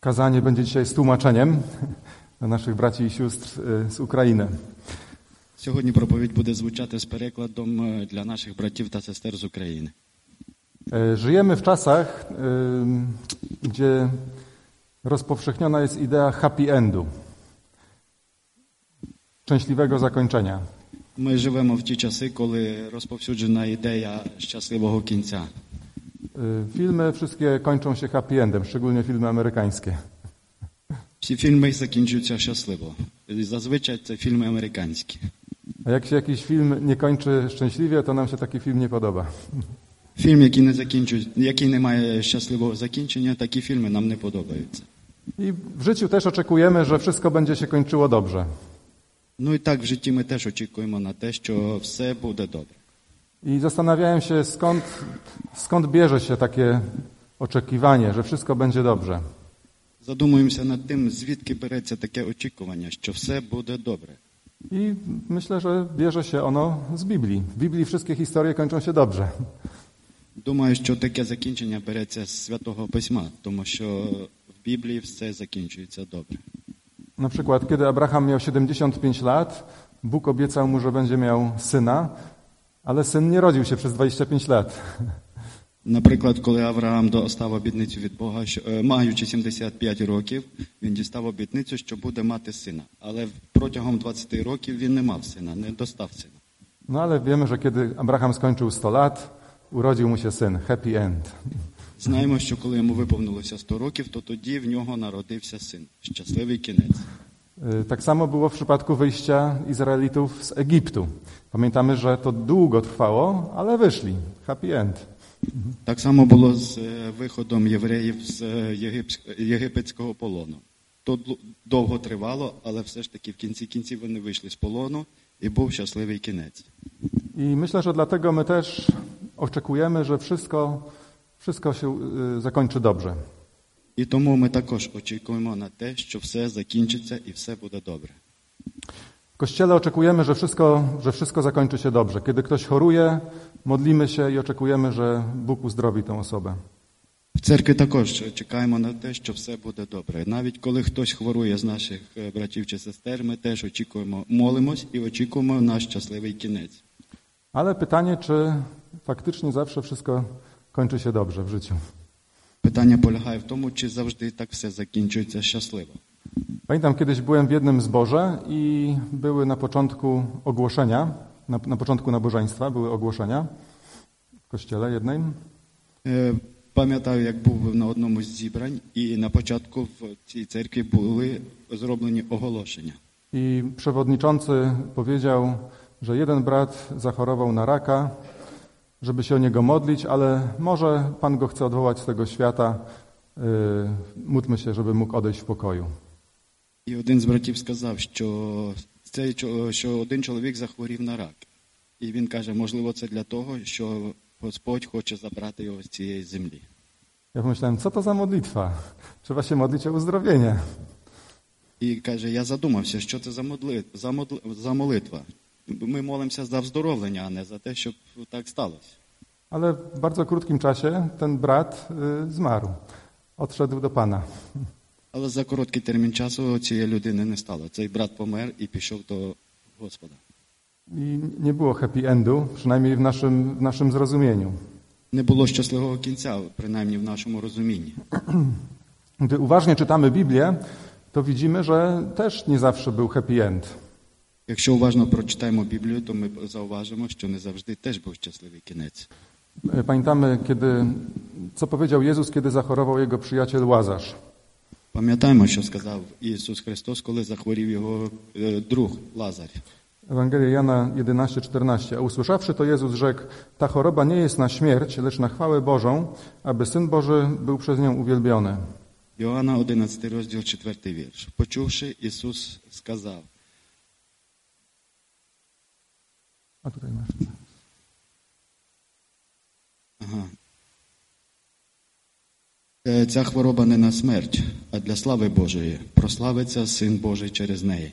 Kazanie będzie dzisiaj z tłumaczeniem dla naszych braci i sióstr y, z Ukrainy. Сьогодні проповідь буде звучати з перекладом е, для наших братів та сестер з України. Y, Żyjemy w czasach, y, gdzie rozpowszechniona jest idea happy endu, szczęśliwego zakończenia. Ми живемо в ті часи, коли розповсюджена ідея щасливого кінця. Y, Filmy wszystkie kończą się happy endem, szczególnie filmy amerykańskie. Всі фільми закінчуються щасливо. І Зазвичай це фільми американські. A jak się jakiś film nie kończy szczęśliwie, to nam się taki film nie podoba. Фільм, який не закінчує, який не має щасливого закінчення, такі фільми нам не подобаються. I w życiu też oczekujemy, że wszystko będzie się kończyło dobrze. Ну і так в житті ми теж очікуємо на те, що все буде добре. I zastanawiałem się, skąd, skąd bierze się takie oczekiwanie, że wszystko będzie dobrze. Задумуємося над тим, звідки береться таке очікування, що все буде добре. I myślę, że bierze się ono z Biblii. W Biblii wszystkie historie kończą się dobrze. Думаю, що таке закінчення береться з святого письма, тому що в Біблії все закінчується добре. Na przykład, kiedy Abraham miał 75 lat, Bóg obiecał mu, że będzie miał syna, ale syn nie rodził się przez 25 lat. Наприклад, коли Авраам достав обітницю від Бога, що е, маючи 75 років, він дістав обітницю, що буде мати сина. Але протягом 20 років він не мав сина, не достав сина. No ale wiemy, że kiedy Abraham skończył 100 lat, urodził mu się syn. Happy end. Знаємо, що коли йому виповнилося 100 років, то тоді в нього народився син. Щасливий кінець. Y, Tak samo było w przypadku wyjścia Izraelitów z Egiptu. Pamiętamy, że to długo trwało, ale wyszli. Happy end. Так само було з е, виходом євреїв з е, єгипс- єгипетського полону. То длу- довго тривало, але все ж таки в кінці кінців вони вийшли з полону і був щасливий кінець. I myślę, że dlatego my też oczekujemy, że wszystko, wszystko się y, zakończy dobrze. І тому ми також очікуємо на те, що все закінчиться і все буде добре. W kościele oczekujemy, że wszystko, że wszystko zakończy się dobrze. Kiedy ktoś choruje, modlimy się i oczekujemy, że Bóg uzdrowi tę osobę. В церкві також чекаємо на те, що все буде добре. Навіть коли хтось хворує з наших е, братів чи сестер, ми теż очікуємо, молимось і очікуємо на щасливий кінець. Ale pytanie, czy faktycznie zawsze wszystko kończy się dobrze w życiu. Питання полягає w тому, чи завжди так все zakінчується щасливо. Pamiętam, kiedyś byłem w jednym zborze i były na początku ogłoszenia, na, na początku nabożeństwa były ogłoszenia w kościele jednej. Е, Пам'ятаю, як був на одному з зібрань, і на початku в цій церкві були зроблені оголошення. I przewodniczący powiedział, że jeden brat zachorował na raka, żeby się o niego modlić, ale może Pan go chce odwołać z tego świata. Yy, módlmy się, żeby mógł odejść w pokoju. І один з братів сказав, що цей чо- що один człowiek захворів на рак. І він каже, можливо, це для того, що Господь хоче забрати його з цієї землі. Ja pomyślałem, co to za modlitwa? Trzeba się modlić o uzdrowienie. І каже: Я задумався, що це за модли- за модл- за молитва. Ми молимося за вздоровлення, а не за те, щоб так сталося. Ale w bardzo krótkim czasie ten brat y, zmarł. Odszedł do Pana. Але за короткий термін часу цієї людини не стало. Цей брат помер і пішов до Господа. I nie było happy endu, przynajmniej w naszym, w naszym zrozumieniu. Не було щасливого кінця, принаймні в нашому розумінні. Gdy uważnie czytamy Biblię, to widzimy, że też nie zawsze był happy end. Якщо уважно прочитаємо Біблію, то ми зауважимо, що не завжди теж був щасливий кінець. Y, Pamiętamy, kiedy, co powiedział Jezus, kiedy zachorował jego przyjaciel Łazarz. Пам'ятаємо, що сказав Ісус Христос, коли захворів його е, друг Лазар. Ewangelia Jana 11:14. A usłyszawszy to Jezus rzekł: Ta choroba nie jest na śmierć, lecz na chwałę Bożą, aby Syn Boży był przez nią uwielbiony. Йоанна 11 розділ 4 вірш. Почувши, Ісус сказав, A tutaj masz. Ага. Е, Ця хвороба не на смерть, а для слави Божої. Прославиться Син Божий через неї.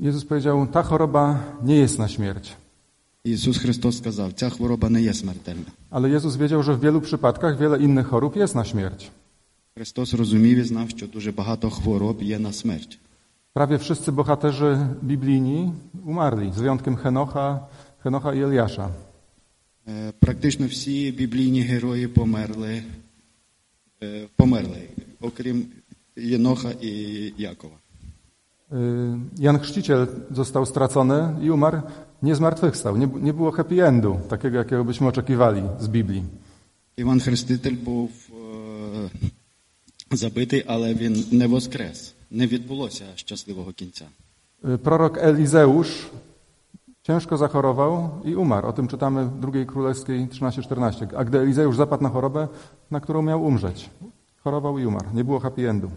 Jezus powiedział: Ta choroba nie jest na śmierć. Ісус Христос сказав, ця хвороба не є смертельна. Ale Jezus wiedział, że w wielu przypadkach wiele innych chorób jest na śmierć. Христос розумів і знав, що дуже багато хвороб є на смерть. Prawie wszyscy bohaterzy biblijni umarli, z wyjątkiem Henocha, Henocha i Eliasza. Е, Практично всі біблійні герої померли, е, померли, окрім Єноха і Якова. Y, Jan Chrzciciel został stracony i umarł, nie zmartwychwstał. Nie, bu- nie było happy endu, takiego jakiego byśmy oczekiwali z Biblii. Іван Хреститель був е, забитий, але він не воскрес. Не відбулося щасливого кінця. Y, Prorok Elizeusz ciężko zachorował i umarł. O tym czytamy w II Królewskiej 13-14. A gdy Elizeusz zapadł na chorobę, na którą miał umrzeć, chorował i umarł. Nie było happy endu. Y,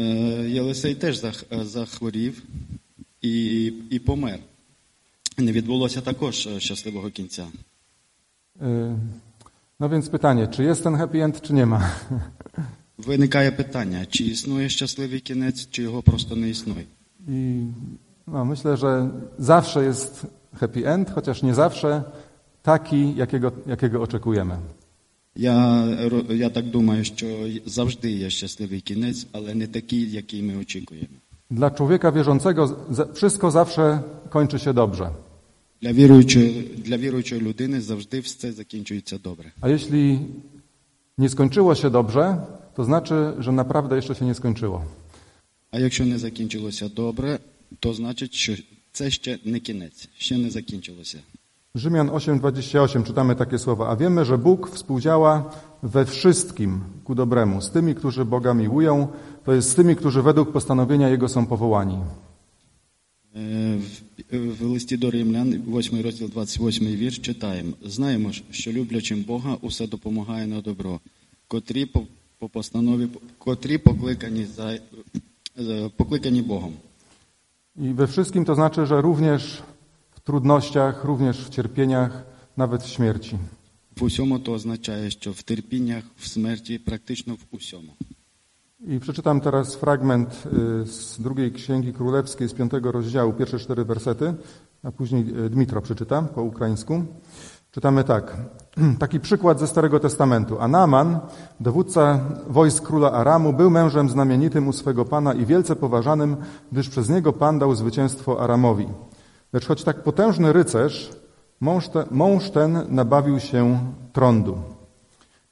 Е, Єлисей теж зах- е, захворів і, і помер. Не відбулося також е, щасливого кінця. Y, No więc pytanie, czy jest ten happy end, czy nie ma? Виникає питання, чи існує щасливий кінець, чи його просто не існує. I no, myślę, że zawsze jest happy end, chociaż nie zawsze taki, jakiego, jakiego oczekujemy. Я, ро- я так думаю, що завжди є щасливий кінець, але не такий, який ми очікуємо. Dla człowieka wierzącego za- wszystko zawsze kończy się dobrze. Для віруючої, для віруючої людини завжди все закінчується добре. A jeśli nie skończyło się dobrze, to znaczy, że naprawdę jeszcze się nie skończyło. А якщо не закінчилося добре, то значить, що це ще не кінець, ще не закінчилося. Rzymian 8:28 czytamy takie słowa: A wiemy, że Bóg współdziała we wszystkim ku dobremu z tymi, którzy Boga miłują, to jest z tymi, którzy według postanowienia jego są powołani. Е, В, в листі до Римлян, 8 розділ 28 вірш, читаємо. Знаємо ж, що люблячим Бога усе допомагає на добро, котрі по, по постанові, котрі покликані, за, е, покликані Богом. I we wszystkim to znaczy, że również w trudnościach, również w cierpieniach, nawet w śmierci. В усьому то означає, що в терпіннях, в смерті, практично в усьому. I przeczytam teraz fragment y, z drugiej Księgi Królewskiej, z piątego rozdziału, pierwsze cztery wersety, a później y, Dmitro przeczyta po ukraińsku. Czytamy tak. Taki przykład ze Starego Testamentu. A Naaman, dowódca wojsk króla Aramu, był mężem znamienitym u swego pana i wielce poważanym, gdyż przez niego pan dał zwycięstwo Aramowi. Lecz choć tak potężny rycerz, mąż, te, mąż ten nabawił się trądu.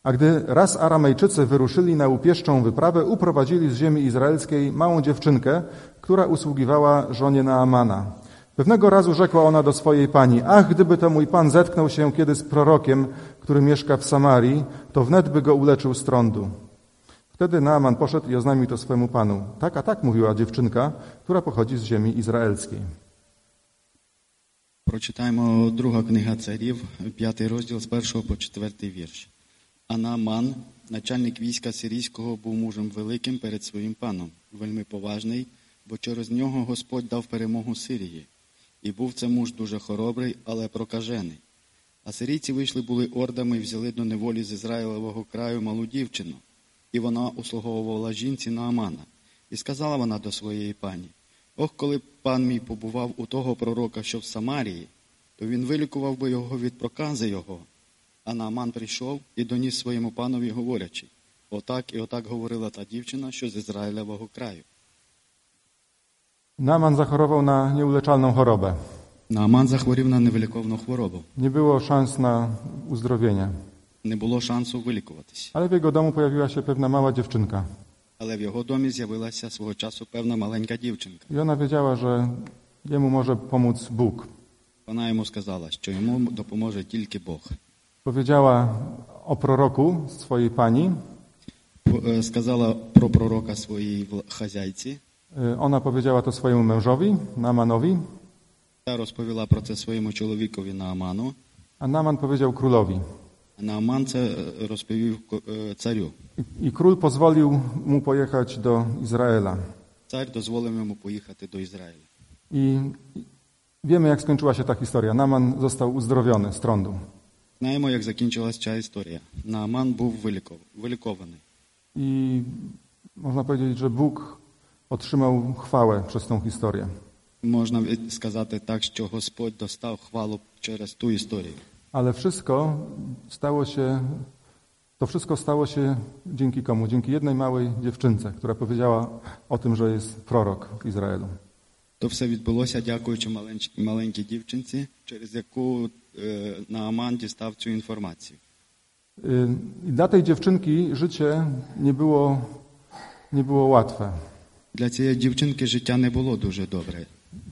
A gdy raz Aramejczycy wyruszyli na upieszczą wyprawę, uprowadzili z ziemi izraelskiej małą dziewczynkę, która usługiwała żonie Naamana. Pewnego razu rzekła ona do swojej pani, ach, gdyby to mój pan zetknął się kiedy z prorokiem, który mieszka w Samarii, to wnet by go uleczył z trądu. Wtedy Naaman poszedł i oznajmił to swemu panu. Tak, a tak mówiła dziewczynka, która pochodzi z ziemi izraelskiej. Прочитаємо друга книга царів, п'ятий розділ з першого по четвертий вірш. Анаман, начальник війська сирійського, був мужем великим перед своїм паном, вельми поважний, бо через нього Господь дав перемогу Сирії. І був це муж дуже хоробрий, але прокажений. А сирійці вийшли були ордами і взяли до неволі з Ізраїлевого краю малу дівчину, і вона услуговувала жінці Наамана. І сказала вона до своєї пані: Ох, коли б пан мій побував у того пророка, що в Самарії, то він вилікував би його від прокази його. А Нааман прийшов і доніс своєму панові, говорячи: Отак і отак говорила та дівчина, що з Ізраїлевого краю. Naaman zachorował na nieuleczalną chorobę. Нааман захворів на невиліковну хворобу. Nie było szans na uzdrowienie. Не було шансу вилікуватися. Ale w jego domu pojawiła się pewna mała dziewczynka. Але в його домі з'явилася свого часу певна маленька дівчинка. I ona wiedziała, że jemu może pomóc Bóg. Вона йому сказала, що йому допоможе тільки Бог. Powiedziała o proroku swojej pani. П- е, Сказала про пророка своїй вл- хазяйці Y, Ona powiedziała to swojemu mężowi, Namanowi, та розповіла про це своєму чоловікові Нааману. a Naman powiedział królowi. А Нааман це е, розповів ко- е, царю. I- I król pozwolił mu pojechać do Izraela. Цар дозволив йому поїхати до Ізраїля. I wiemy, jak skończyła się ta historia. Naman został uzdrowiony z trądu. Знаємо, як закінчилась ця історія. Нааман був виліков- вилікований. I można powiedzieć, że Bóg otrzymał chwałę przez tą historię. Можна від- сказати так, що Господь достав хвалу через ту історію. Ale wszystko stało się To wszystko stało się dzięki komu? Dzięki jednej małej dziewczynce, która powiedziała o tym, że jest prorok w Izraelu. То все відбулося дякуючи маленьч- маленькій дівчинці, через яку е, Нааман дістав цю інформацію. Y, I dla tej dziewczynki życie nie było, nie było łatwe. Для цієї дівчинки життя не було дуже добре.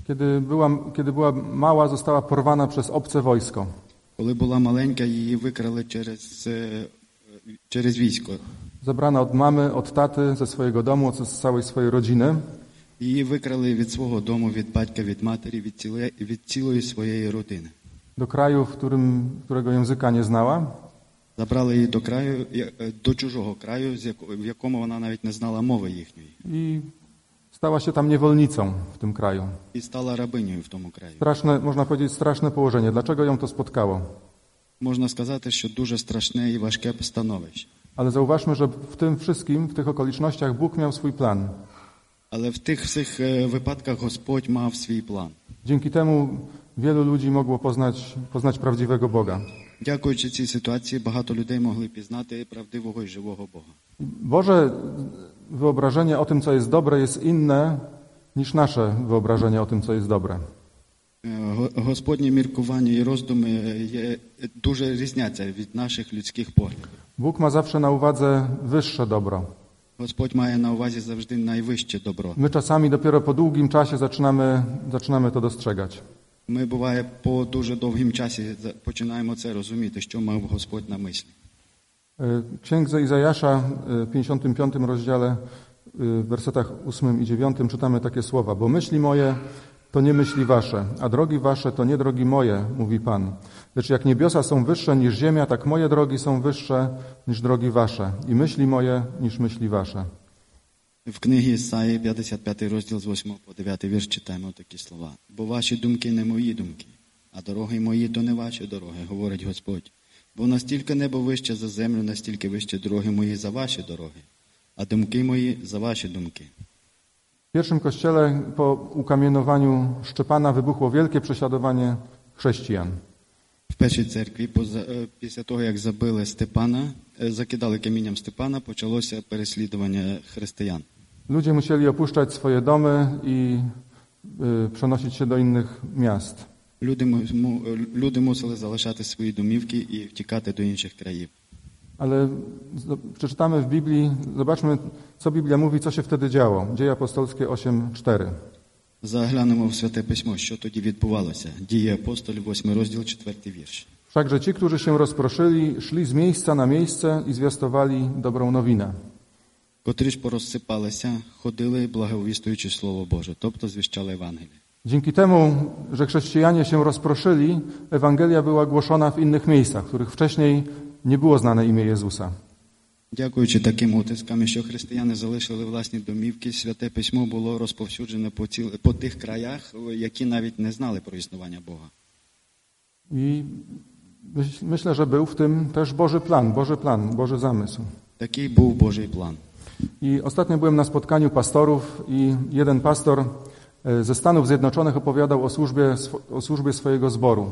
Kiedy była, kiedy była mała, została porwana przez obce wojsko. Коли була маленька, її викрали через, е, через військо. Zabrana od mamy, od taty, ze swojego domu, z całej swojej rodziny. Її викрали від свого дому, від батька, від матері, від, ціле, від цілої своєї родини. Do kraju, w którym, którego języka nie znała. Забрали її до краю, я- е, до чужого краю, з яко- в якому вона навіть не знала мови їхньої, I stała się tam niewolnicą w tym kraju. і stala рабинею в тому краю. Straszne, można powiedzieć, straszne położenie. Dlaczego ją to spotkało? Можна сказати, що дуже страшне і важке становище. Ale zauważmy, że w tym wszystkim, w tych okolicznościach Bóg miał swój plan. Але в тих всіх е, випадкach Господь мав свій план. Dzięki temu wielu ludzi mogło poznać, poznać prawdziwego Boga. Дякуючи цій ситуації, багато людей могли пізнати правдивого і живого Бога. Boże wyobrażenie o tym, co jest dobre, jest inne niż nasze wyobrażenie o tym, co jest dobre. Е, Го- Господні міркування і роздуми є дуже різняться від наших людських поглядів. Bóg ma zawsze na uwadze wyższe dobro. Господь має на увазі завжди найвище добро. My czasami dopiero po długim czasie zaczynamy, zaczynamy to dostrzegać. Ми буває по дуже довгім часі за- починаємо це розуміти, що мав Господь на мислі. Y, W Księdze Izajasza y, w 55 rozdziale y, w wersetach 8 i 9 czytamy takie słowa: Bo myśli moje to nie myśli wasze, a drogi wasze to nie drogi moje, mówi Pan. Lecz jak niebiosa są wyższe niż ziemia, tak moje drogi są wyższe niż drogi wasze i myśli moje niż myśli wasze. В книгі Ісаї 55 розділ з 8 по 9 вірш читаємо такі слова. Бо ваші думки не мої думки, а дороги мої то не ваші дороги, говорить Господь. Бо настільки небо вище за землю, настільки вище дороги мої за ваші дороги, а думки мої за ваші думки. W pierwszym kościele po ukamienowaniu Szczepana wybuchło wielkie prześladowanie chrześcijan. В першій церкві, поза- е, після того, як забили Степана, е, закидали камінням Степана, почалося переслідування християн. Ludzie musieli opuszczać swoje domy i y, przenosić się do innych miast. Люди, му- му- е, люди мусили залишати свої домівки і втікати до інших країв. Ale z- przeczytamy w Biblii, zobaczmy, co Biblia mówi, co się wtedy działo. Dzieje apostolskie 8:4. Заглянемо в Святе Письмо, що тоді відбувалося. Дії апостолів, 8 розділ, 4 вірш. Wszakże ci, którzy się rozproszyli, szli z miejsca na miejsce i zwiastowali dobrą nowinę. Котрі ж порозсипалися, ходили, благовістуючи Слово Боже, тобто звіщали Евангеліє. Dzięki temu, że chrześcijanie się rozproszyli, Ewangelia była głoszona w innych miejscach, w których wcześniej nie było znane imię Jezusa. Дякуючи таким утискам, що християни залишили власні домівки, святе письмо було розповсюджене по, ціл... по тих краях, які навіть не знали про існування Бога. I myśl- myślę, że był w tym też Boży plan, Boży plan, Boży zamysł. Такий був Божий план. I ostatnio byłem na spotkaniu pastorów i jeden pastor e, ze Stanów Zjednoczonych opowiadał o służbie, sw- o służbie swojego zboru.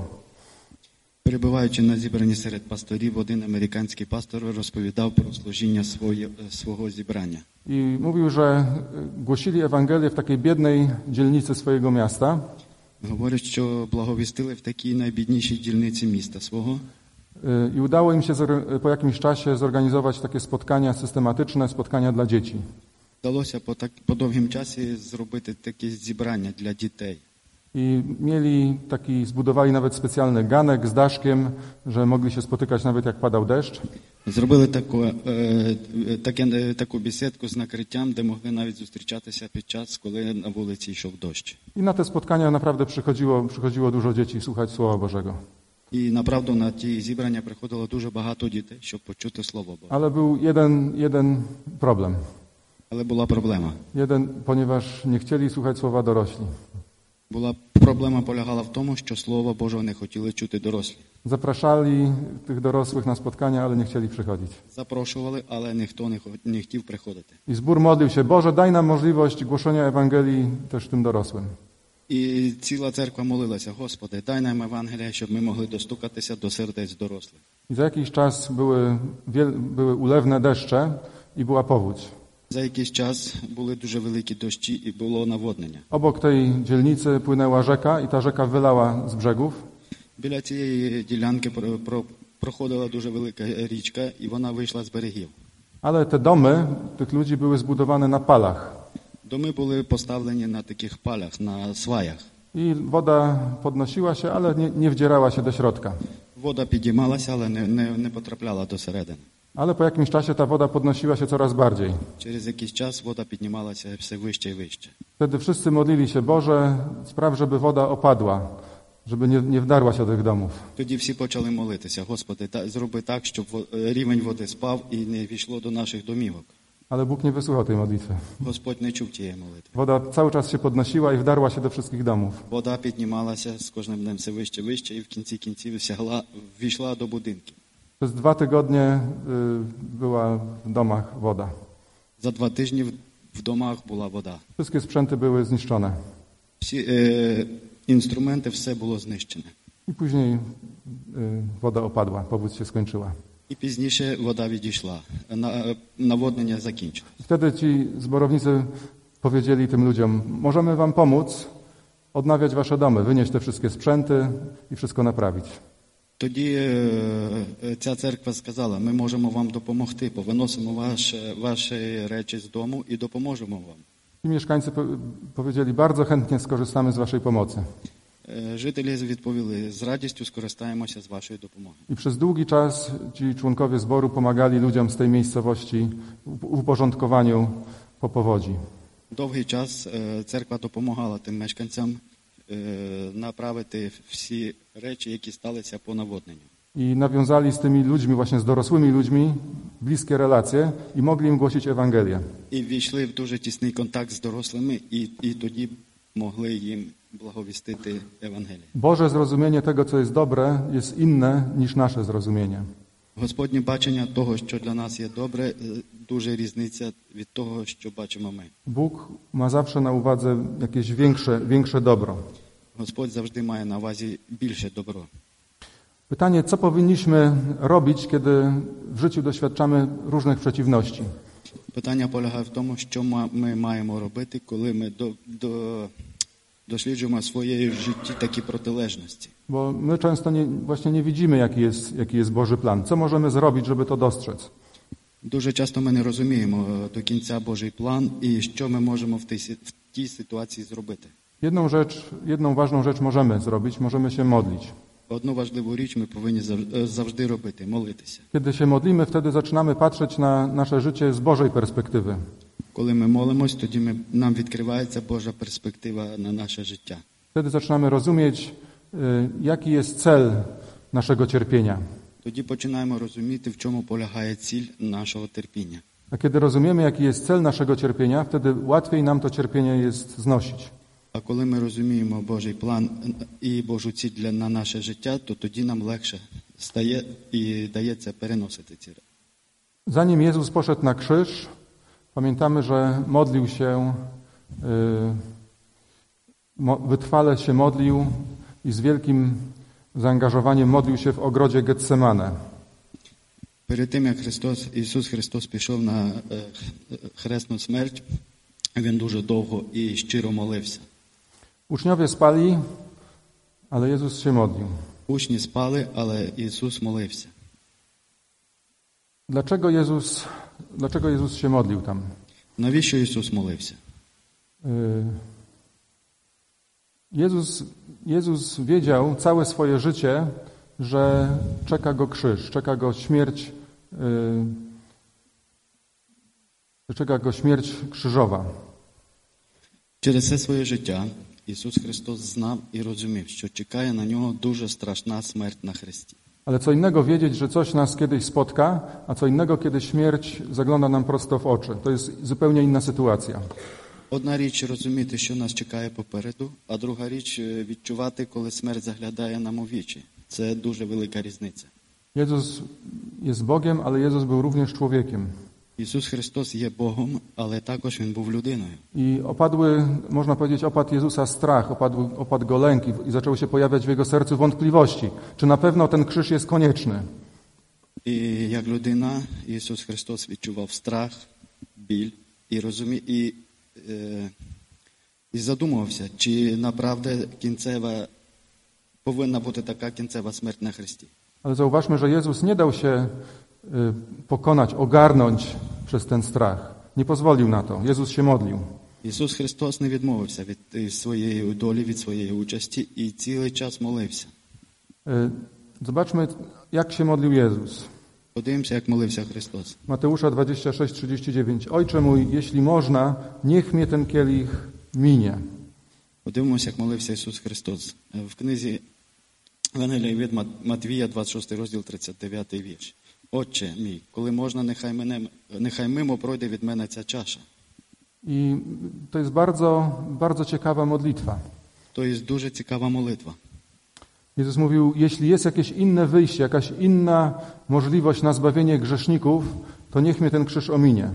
Перебуваючи на зібранні серед пасторів, один американський пастор розповідав про служіння своє... свого зібрання. I mówił, że e, głosili Ewangelię w takiej biednej dzielnicy swojego miasta. Говорить, що благовістили в такій найбіднішій дільниці mista свого, e, I udało im się zorg- po jakimś czasie zorganizować takie spotkania systematyczne, spotkania dla dzieci. вдалося по так по довгім часі зробити такі зібрання для дітей. I mieli taki, zbudowali nawet specjalny ganek z daszkiem, że mogli się spotykać nawet jak padał deszcz. Зробили таку, е, таке, е, таку бесідку з накриттям, де могли навіть зустрічатися під час, коли на вулиці йшов дощ. I na te spotkania naprawdę przychodziło, przychodziło dużo dzieci słuchać Słowa Bożego. І направду на ті зібрання приходило дуже багато дітей, щоб почути слово Боже. Ale był jeden, jeden problem. Але була проблема. Jeden, ponieważ nie chcieli słuchać słowa dorośli. Була проблема полягала в тому, що слово Божого не хотіли чути дорослі. Zapraszali tych dorosłych na spotkania, ale nie chcieli przychodzić. Запрошували, але ніхто не хо- не хотів приходити. I zbór modlił się, Boże, daj nam możliwość głoszenia Ewangelii też tym dorosłym. І ціла церква молилася, Господи, дай нам Евангелія, щоб ми могли достукатися до сердець дорослих. I za jakiś czas były, wiel- były ulewne deszcze i była powódź. За якийсь час були дуже великі дощі і було наводнення. Obok tej dzielnicy płynęła rzeka i ta rzeka wylała z brzegów. Біля цієї ділянки про- про- проходила дуже велика річка, і вона вийшла з берегів. Ale te domy tych ludzi były zbudowane na palach Доми були поставлені на таких палях, на сваях. i woda podnosiła się, ale nie, nie wdzierała się do środka. Вода підіймалася, але не, не, не потрапляла до середини. Ale po jakimś czasie ta woda podnosiła się coraz bardziej. Через якийсь час вода піднімалася все вище і вище. Wtedy wszyscy modlili się, Boże, spraw, żeby woda opadła, żeby nie, nie wdarła się do tych domów. Тоді всі почали молитися, Господи, та, зроби так, щоб во- е, рівень води спав і не війшло до наших domівок. Ale Bóg nie wysłuchał tej modlitwy. Господь не чув тієї молитви. Woda cały czas się podnosiła i wdarła się do wszystkich domów. Вода піднімалася з кожним днем все вище, вище, і в кінці кінців сягла, війшла до будинків. Przez dwa tygodnie y, była w domach woda. За два тижні в- в домах була вода. Wszystkie sprzęty były zniszczone. Всі е, інструменти, все було знищене. I później y, woda opadła, powódź się skończyła. І пізніше вода відійшла. На, е, наводнення закінчило. I Wtedy ci zborownicy powiedzieli tym ludziom, możemy wam pomóc odnawiać wasze domy, wynieść te wszystkie sprzęty i wszystko naprawić. Тоді е, е, ця церква сказала: ми можемо вам допомогти, повиносимо ваше, ваші речі з дому і допоможемо вам. I mieszkańcy po- powiedzieli, bardzo chętnie skorzystamy z waszej pomocy. Е, Жителі відповіли: з радістю скористаємося з вашою допомогою. I przez długi czas ci członkowie zboru pomagali ludziom z tej miejscowości w uporządkowaniu po powodzi. Довгий час е, церква допомагала тим мешканцям е, направити всі речі, які сталися по наводненню. I nawiązali z tymi ludźmi, właśnie z dorosłymi ludźmi, bliskie relacje i mogli im głosić Ewangelię. І війшли в дуже тісний контакт з дорослими, і, і тоді могли їм благовістити Евангеліє. Boże zrozumienie tego, co jest dobre, jest inne niż nasze zrozumienie. Господнє бачення того, що для нас є добре, е, дуже різниця від того, що бачимо ми. Bóg ma zawsze na uwadze jakieś większe, większe dobro. Господь завжди має на увазі більше добро. Pytanie, co powinniśmy robić, kiedy w życiu doświadczamy różnych przeciwności? Питання полягає в тому, що ма- ми маємо робити, коли ми до, до, досліджуємо своєї в житті такі протилежності. Bo my często nie, właśnie nie widzimy, jaki jest, jaki jest Boży plan. Co możemy zrobić, żeby to dostrzec? Дуже часто ми не розуміємо е, до кінця Божий план і що ми можемо в тій, сі- в тій ситуації зробити. Jedną rzecz, jedną ważną rzecz możemy zrobić, możemy się modlić. Одну важливу річ ми повинні зав- е, завжди робити молитися. Kiedy się modlimy, wtedy zaczynamy patrzeć na nasze życie z Bożej perspektywy. Коли ми молимось, тоді ми, нам відкривається Божа перспектива на наше життя. Wtedy zaczynamy rozumieć, y, jaki jest cel naszego cierpienia. Тоді починаємо розуміти, в чому полягає ціль нашого терпіння. A kiedy rozumiemy, jaki jest cel naszego cierpienia, wtedy łatwiej nam to cierpienie jest znosić. А коли ми розуміємо Божий план е, і Божу ціль для на наше життя, то тоді нам легше стає і дається переносити ці речі. Zanim Jezus poszedł na krzyż, pamiętamy, że modlił się, y, mo- wytrwale się modlił i z wielkim zaangażowaniem modlił się w ogrodzie Getsemane. Перед тим як Христос Ісус Христос пішов на е, хресну смерть, він дуже довго і щиро молився. Uczniowie spali, ale Jezus się modlił. Учні спали, але Ісус молився. Dlaczego Jezus, dlaczego Jezus się modlił tam? Навіщо Ісус молився? Y, Jezus, Jezus wiedział całe swoje życie, że czeka go krzyż, czeka go śmierć, y, czeka go śmierć krzyżowa. Через все своє життя Ісус Христос знав і розумів, що чекає на нього дуже страшна смерть на Христі. Ale co innego wiedzieć, że coś nas kiedyś spotka, a co innego, kiedy śmierć zagląda nam prosto w oczy. To jest zupełnie inna sytuacja. Одна річ розуміти, що нас чекає попереду, а друга річ е, відчувати, коли смерть заглядає нам у вічі. Це дуже велика різниця. Jezus jest Bogiem, ale Jezus był również człowiekiem. Ісус Христос є Богом, але також Він був людиною. I opadły, można powiedzieć, opadł Jezusa strach, opadł, opadł go lęk i, i zaczęły się pojawiać w jego sercu wątpliwości, czy na pewno ten krzyż jest konieczny. І як людина, Ісус Христос відчував страх, біль і розумі... і, е... і задумувався, чи направда кінцева повинна бути така кінцева смерть на Христі. Ale zauważmy, że Jezus nie dał się y, pokonać, ogarnąć przez ten strach. Nie pozwolił na to. Jezus się modlił. Ісус Христос не відмовився від е, своєї долі, від своєї участі і цілий час молився. Y, Zobaczmy, jak się modlił Jezus. Подивимося, jak moлився Христос. Mateusza 26, 39. Ojcze mój, jeśli można, niech mnie ten kielich minie. Подивимося, як молився Ісус Христос. Е, В книзі Евангелія від Мат- Матвія, 26 розділ, 39 вірш. Отче мій, коли можна, нехай, мене, нехай мимо пройде від мене ця чаша. I to jest bardzo, bardzo ciekawa modlitwa. То є дуже цікава молитва. Jezus mówił, jeśli jest jakieś inne wyjście, jakaś inna możliwość na zbawienie grzeszników, to niech mnie ten krzyż ominie.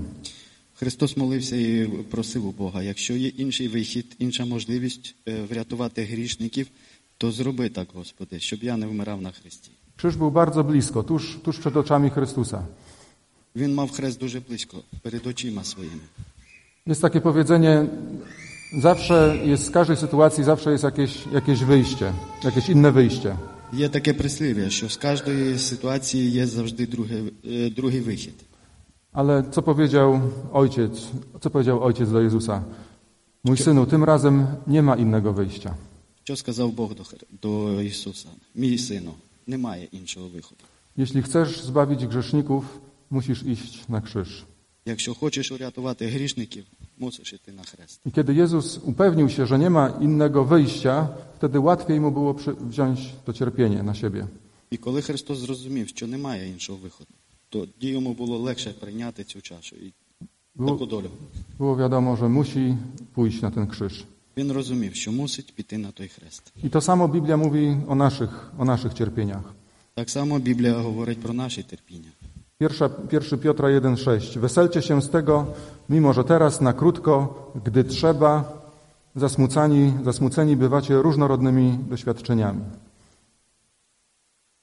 Христос молився і просив у Бога, якщо є інший вихід, інша можливість е, врятувати грішників, то зроби так, Господи, щоб я не вмирав на хресті. Krzyż był bardzo blisko, tuż, tuż przed oczami Chrystusa. Він мав хрест дуже близько, перед очима своїми. Jest takie powiedzenie, zawsze jest, z każdej sytuacji zawsze jest jakieś, jakieś wyjście, jakieś inne wyjście. Є таке прислів'я, що з кожної ситуації є завжди другий, е, другий вихід. Ale co powiedział ojciec, co powiedział ojciec do Jezusa? Mój synu, tym razem nie ma innego wyjścia. Що сказав Бог до, Хри- до Ісуса? Мій сину, немає іншого виходу. Jeśli chcesz zbawić grzeszników, musisz iść na krzyż. Якщо хочеш урятувати грішників, мусиш іти на хрест. I kiedy Jezus upewnił się, że nie ma innego wyjścia, wtedy łatwiej mu było przy, wziąć to cierpienie na siebie. І коли Христос зрозумів, що немає іншого виходу, то йому було легше прийняти цю чашу і таку Było, долю. było wiadomo, że musi pójść na ten krzyż. Він розумів, що мусить піти на той хрест. I to samo Biblia mówi o naszych, o naszych cierpieniach. Так само Біблія говорить про наші терпіння. Pierwsza, 1 Piotra 1,6. Weselcie się z tego, mimo że teraz na krótko, gdy trzeba, zasmucani, zasmuceni bywacie różnorodnymi doświadczeniami.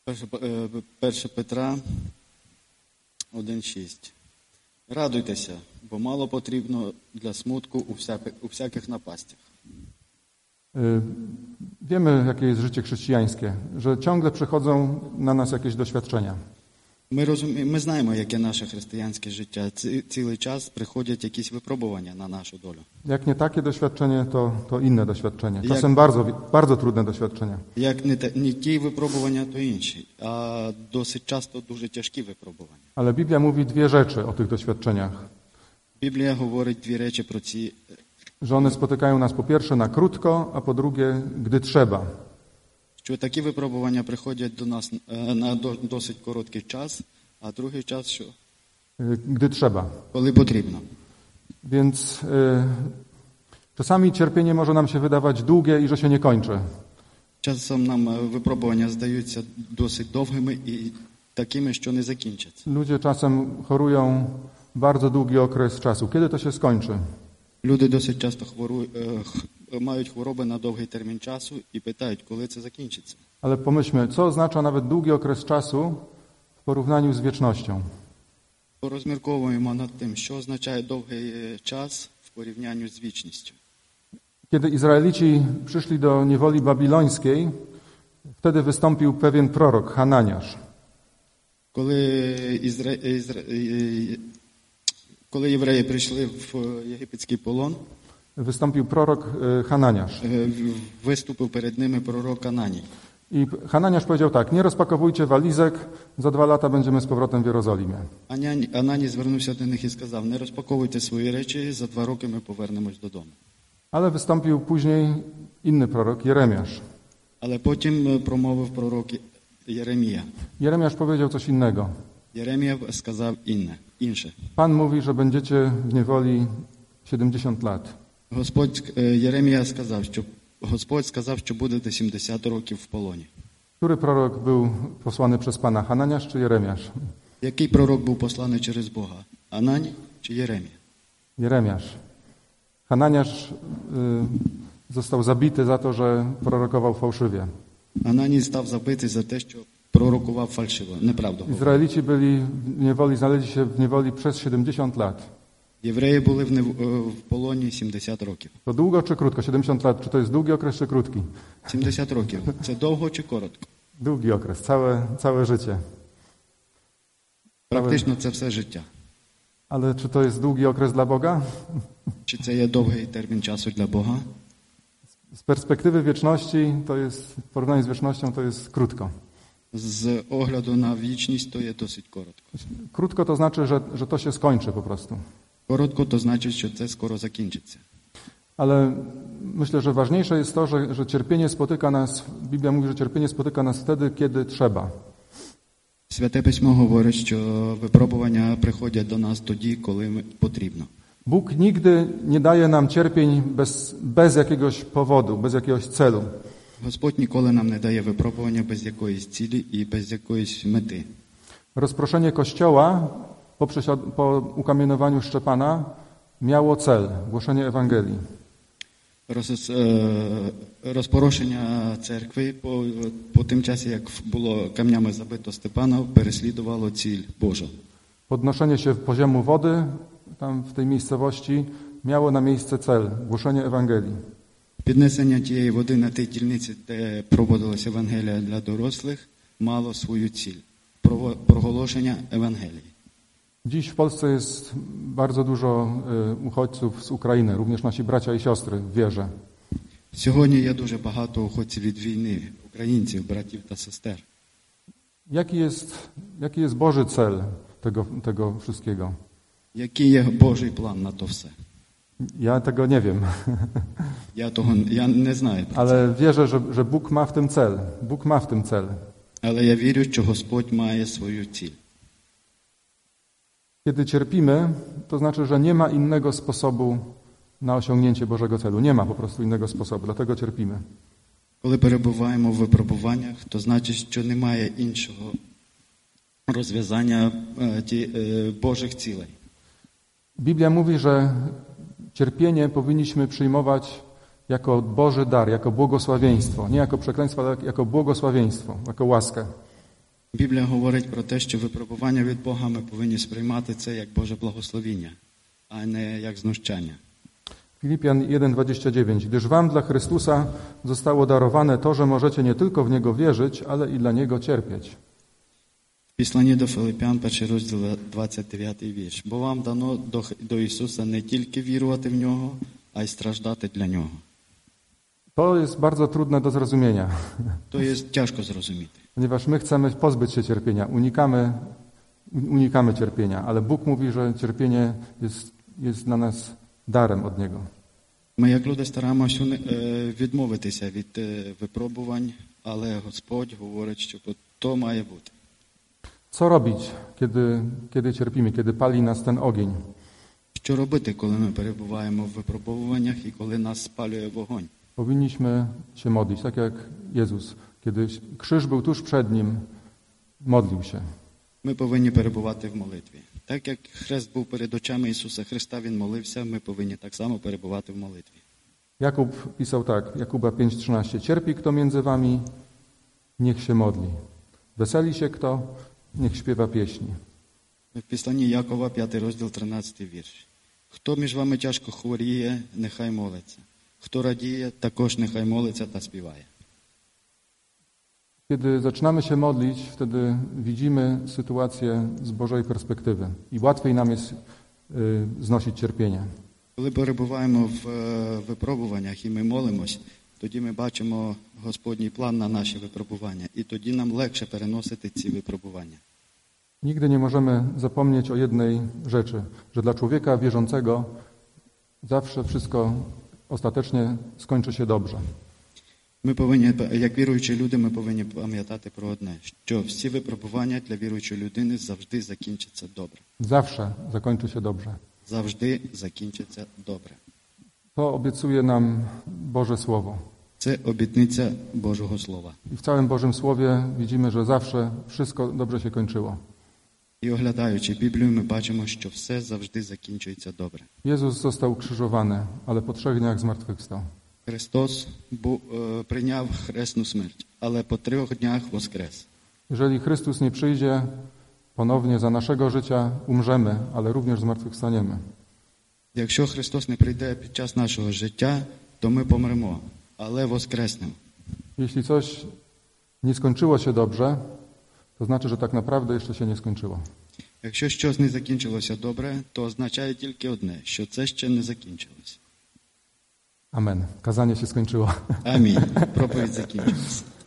Перше, е, перше Петра 1.6. Радуйтеся, бо мало потрібно для смутку у, всяки- у всяких напастях. Y, Wiemy, jakie jest życie chrześcijańskie, że ciągle przychodzą na nas jakieś doświadczenia. Ми розумі... ми знаємо, яке наше християнське життя. Ці... Цілий час приходять якісь випробування на нашу долю. Jak nie takie doświadczenie, to, to inne doświadczenie. Jak- Czasem bardzo, bardzo трудne doświadczenia. Як не, те... не ті випробування, то інші, а досить часто дуже тяжкі випробування. Ale Biblia mówi dwie rzeczy o tych doświadczeniach. Біблія говорить дві речі про ці. Że one spotykają nas po pierwsze na krótko, a po drugie, gdy trzeba. Що такі випробування приходять до нас е, на до- досить короткий час, а другий час, що Y, Gdy trzeba. коли потрібно. Więc y, czasami cierpienie może nam się wydawać długie i że się nie kończy. Часом нам е, випробування здаються досить довгими і такими, що не закінчаться. Ludzie czasem chorują bardzo długi okres czasu. Kiedy to się skończy? Люди досить часто хвору... е, х- мають хвороби на довгий термін часу і питають, коли це закінчиться. Ale pomyślmy, co oznacza nawet długi okres czasu w porównaniu z wiecznością. Порозмірковуємо над тим, що означає довгий е, час в порівнянні з вічністю. Kiedy Izraelici przyszli do niewoli babilońskiej, wtedy wystąpił pewien prorok, Hananiasz. Коли, Ізра... Ізра... е, коли євреї прийшли в е, єгипетський полон, Wystąpił prorok y, Hananiasz. е, в- виступив перед ними пророк Ананій. I Hananiasz powiedział tak, nie rozpakowujcie walizek, za dwa lata będziemy z powrotem w Jerozolimie. Аняні- Анані звернувся до них і сказав: Не розпаковуйте свої речі, за два роки ми повернемось додому. Ale wystąpił później inny prorok, Jeremiasz. Але потім е, промовив пророк Є- Єремія. Jeremiasz powiedział coś innego. Єремія сказав інне, інше. Pan mówi, że będziecie w niewoli 70 lat. Господь е, Єремія сказав, що Господь сказав, що будете 70 років в полоні. Który prorok był posłany przez Pana, Hananiasz czy Jeremiasz? Який пророк був посланий через Бога? Анані чи Єремія? Jeremiasz. Hananiasz y, został zabity za to, że prorokował fałszywie. Ананій став забитий за те, що пророкував фальшиво, неправду. говорив. Izraelici byli w niewoli, znaleźli się w niewoli przez 70 lat. Євреї були в, нев- е, в полоні 70 років. To długo czy krótko? 70 lat, czy to jest długi okres, czy krótki? 70 років. Це довго чи коротко? Długi okres, całe, całe życie. Практично це все життя. Ale czy to jest długi okres dla Boga? Чи це є довгий термін часу для Бога? Z perspektywy wieczności, to jest, w porównaniu z wiecznością, to jest krótko. З огляду на вічність, то є dosить коротко. Krótko to znaczy, że, że to się skończy po prostu. Коротко, то значить, що це скоро закінчиться. Ale myślę, że ważniejsze jest to, że, że cierpienie spotyka nas, Biblia mówi, że cierpienie spotyka nas wtedy, kiedy trzeba. Святе письмо говорить, що випробування приходять до нас тоді, коли ми- потрібно. Bóg nigdy nie daje nam cierpień bez, bez jakiegoś powodu, bez jakiegoś celu. Господь ніколи нам не дає випробування без якоїсь цілі і без якоїсь мети. Rozproszenie Kościoła po, przesiad- po ukamienowaniu Szczepana miało cel głoszenie Ewangelii. Роз- е, Розпорошення церкви по, по тим часі, як було камнями забито Степана, переслідувало ціль Божу. Podnoszenie się poziomu wody tam w tej miejscowości miało na miejsce cel głoszenie Ewangelii. Піднесення тієї води на тій дільниці, де проводилася Евангелія для дорослих, мало свою ціль Прово- проголошення Евангелії. Dziś w Polsce jest bardzo dużo y, uchodźców z Ukrainy, również nasi bracia i siostry w wierze. Сьогодні є дуже багато уходців від війни, українців, братів та сестер. Jaki jest, jaki jest Boży cel tego, tego wszystkiego? Який є Божий план на то все? Ja tego nie wiem, Я того я не знаю, про це. ale wierzę, że, że Bóg ma w tym cel. Bóg ma w tym cel. але я вірю, що Господь має свою ціль. Kiedy cierpimy, to znaczy, że nie ma innego sposobu na osiągnięcie Bożego celu. Nie ma po prostu innego sposobu, dlatego cierpimy. Коли перебуваємо в випробуваннях, то значить, що немає іншого розв'язання е, ті- е, Божих цілей. Biblia mówi, że cierpienie powinniśmy przyjmować jako Boży dar, jako błogosławieństwo. Nie jako przekleństwo, ale jako błogosławieństwo, jako łaskę. Біблія говорить про те, що випробування від Бога ми повинні сприймати це як Боже благословіння, а nie як знущання. Filipian 1,29 Gdyż wam dla Chrystusa zostało darowane to, że możecie nie tylko w Niego wierzyć, ale i dla Niego cierpieć. Післання до Филипян, перший розділ, 29 вірш. Бо вам дано до, Х- до Ісуса не тільки вірувати в Нього, а й страждати для Нього. To jest bardzo trudne do zrozumienia, То є тяжко зрозуміти. ponieważ my chcemy pozbyć się cierpienia, unikamy, unikamy cierpienia, ale Bóg mówi, że cierpienie jest, jest dla nas darem od Niego. Ми, як люди, стараємося уни- е, відмовитися від е, випробувань, але Господь говорить, що от то має бути. Co robić, kiedy, kiedy cierpimy, kiedy pali nas ten ogień? Що робити, коли ми перебуваємо в випробуваннях і коли нас спалює вогонь? Powinniśmy się modlić, tak jak Jezus. Kiedy krzyż był tuż przed Nim, modlił się. Ми повинні перебувати в молитві. Так як хрест був перед очами Ісуса Христа, Він молився, ми повинні tak само перебувати в молитві. Jakub pisał tak, Jakuba 5,13 Cierpi kto między wami, niech się modli. Weseli się kto, niech śpiewa pieśni. В післанні Якова, 5 розділ, 13 вірш. Хто між вами тяжко хворіє, нехай молиться. Хто радіє, також нехай молиться та співає. Kiedy zaczynamy się modlić, wtedy widzimy sytuację z Bożej perspektywy i łatwiej nam jest y, znosić cierpienie. Коли перебуваємо в е, випробуваннях і ми молимось, тоді ми бачимо Господній план на наші випробування, і тоді нам легше переносити ці випробування. Nigdy nie możemy zapomnieć o jednej rzeczy, że dla człowieka wierzącego zawsze wszystko ostatecznie skończy się dobrze. Ми повинні, як віруючі люди, ми повинні пам'ятати про одне, що всі випробування для віруючої людини завжди закінчаться добре. Zawsze zakończy się dobrze. Завжди закінчаться добре. To obiecuje nam Boże Słowo. Це обітниця Божого Слова. I w całym Bożym Słowie widzimy, że zawsze wszystko dobrze się kończyło. І оглядаючи Біблію, ми бачимо, що все завжди закінчується добре. Jezus został ukrzyżowany, ale po trzech dniach zmartwychwstał. Христос бу- е, прийняв хресну смерть, але по трьох днях воскрес. Jeżeli Chrystus nie przyjdzie ponownie za naszego życia, umrzemy, ale również zmartwychwstaniemy. Якщо Христос не прийде під час нашого життя, то ми помремо, але воскреснемо. Jeśli coś nie skończyło się dobrze, to znaczy, że tak naprawdę jeszcze się nie skończyło. Якщо щось не закінчилося добре, то означає тільки одне, що це ще не закінчилося. Amen. Kazanie się skończyło. Амінь. Проповідь закінчилася.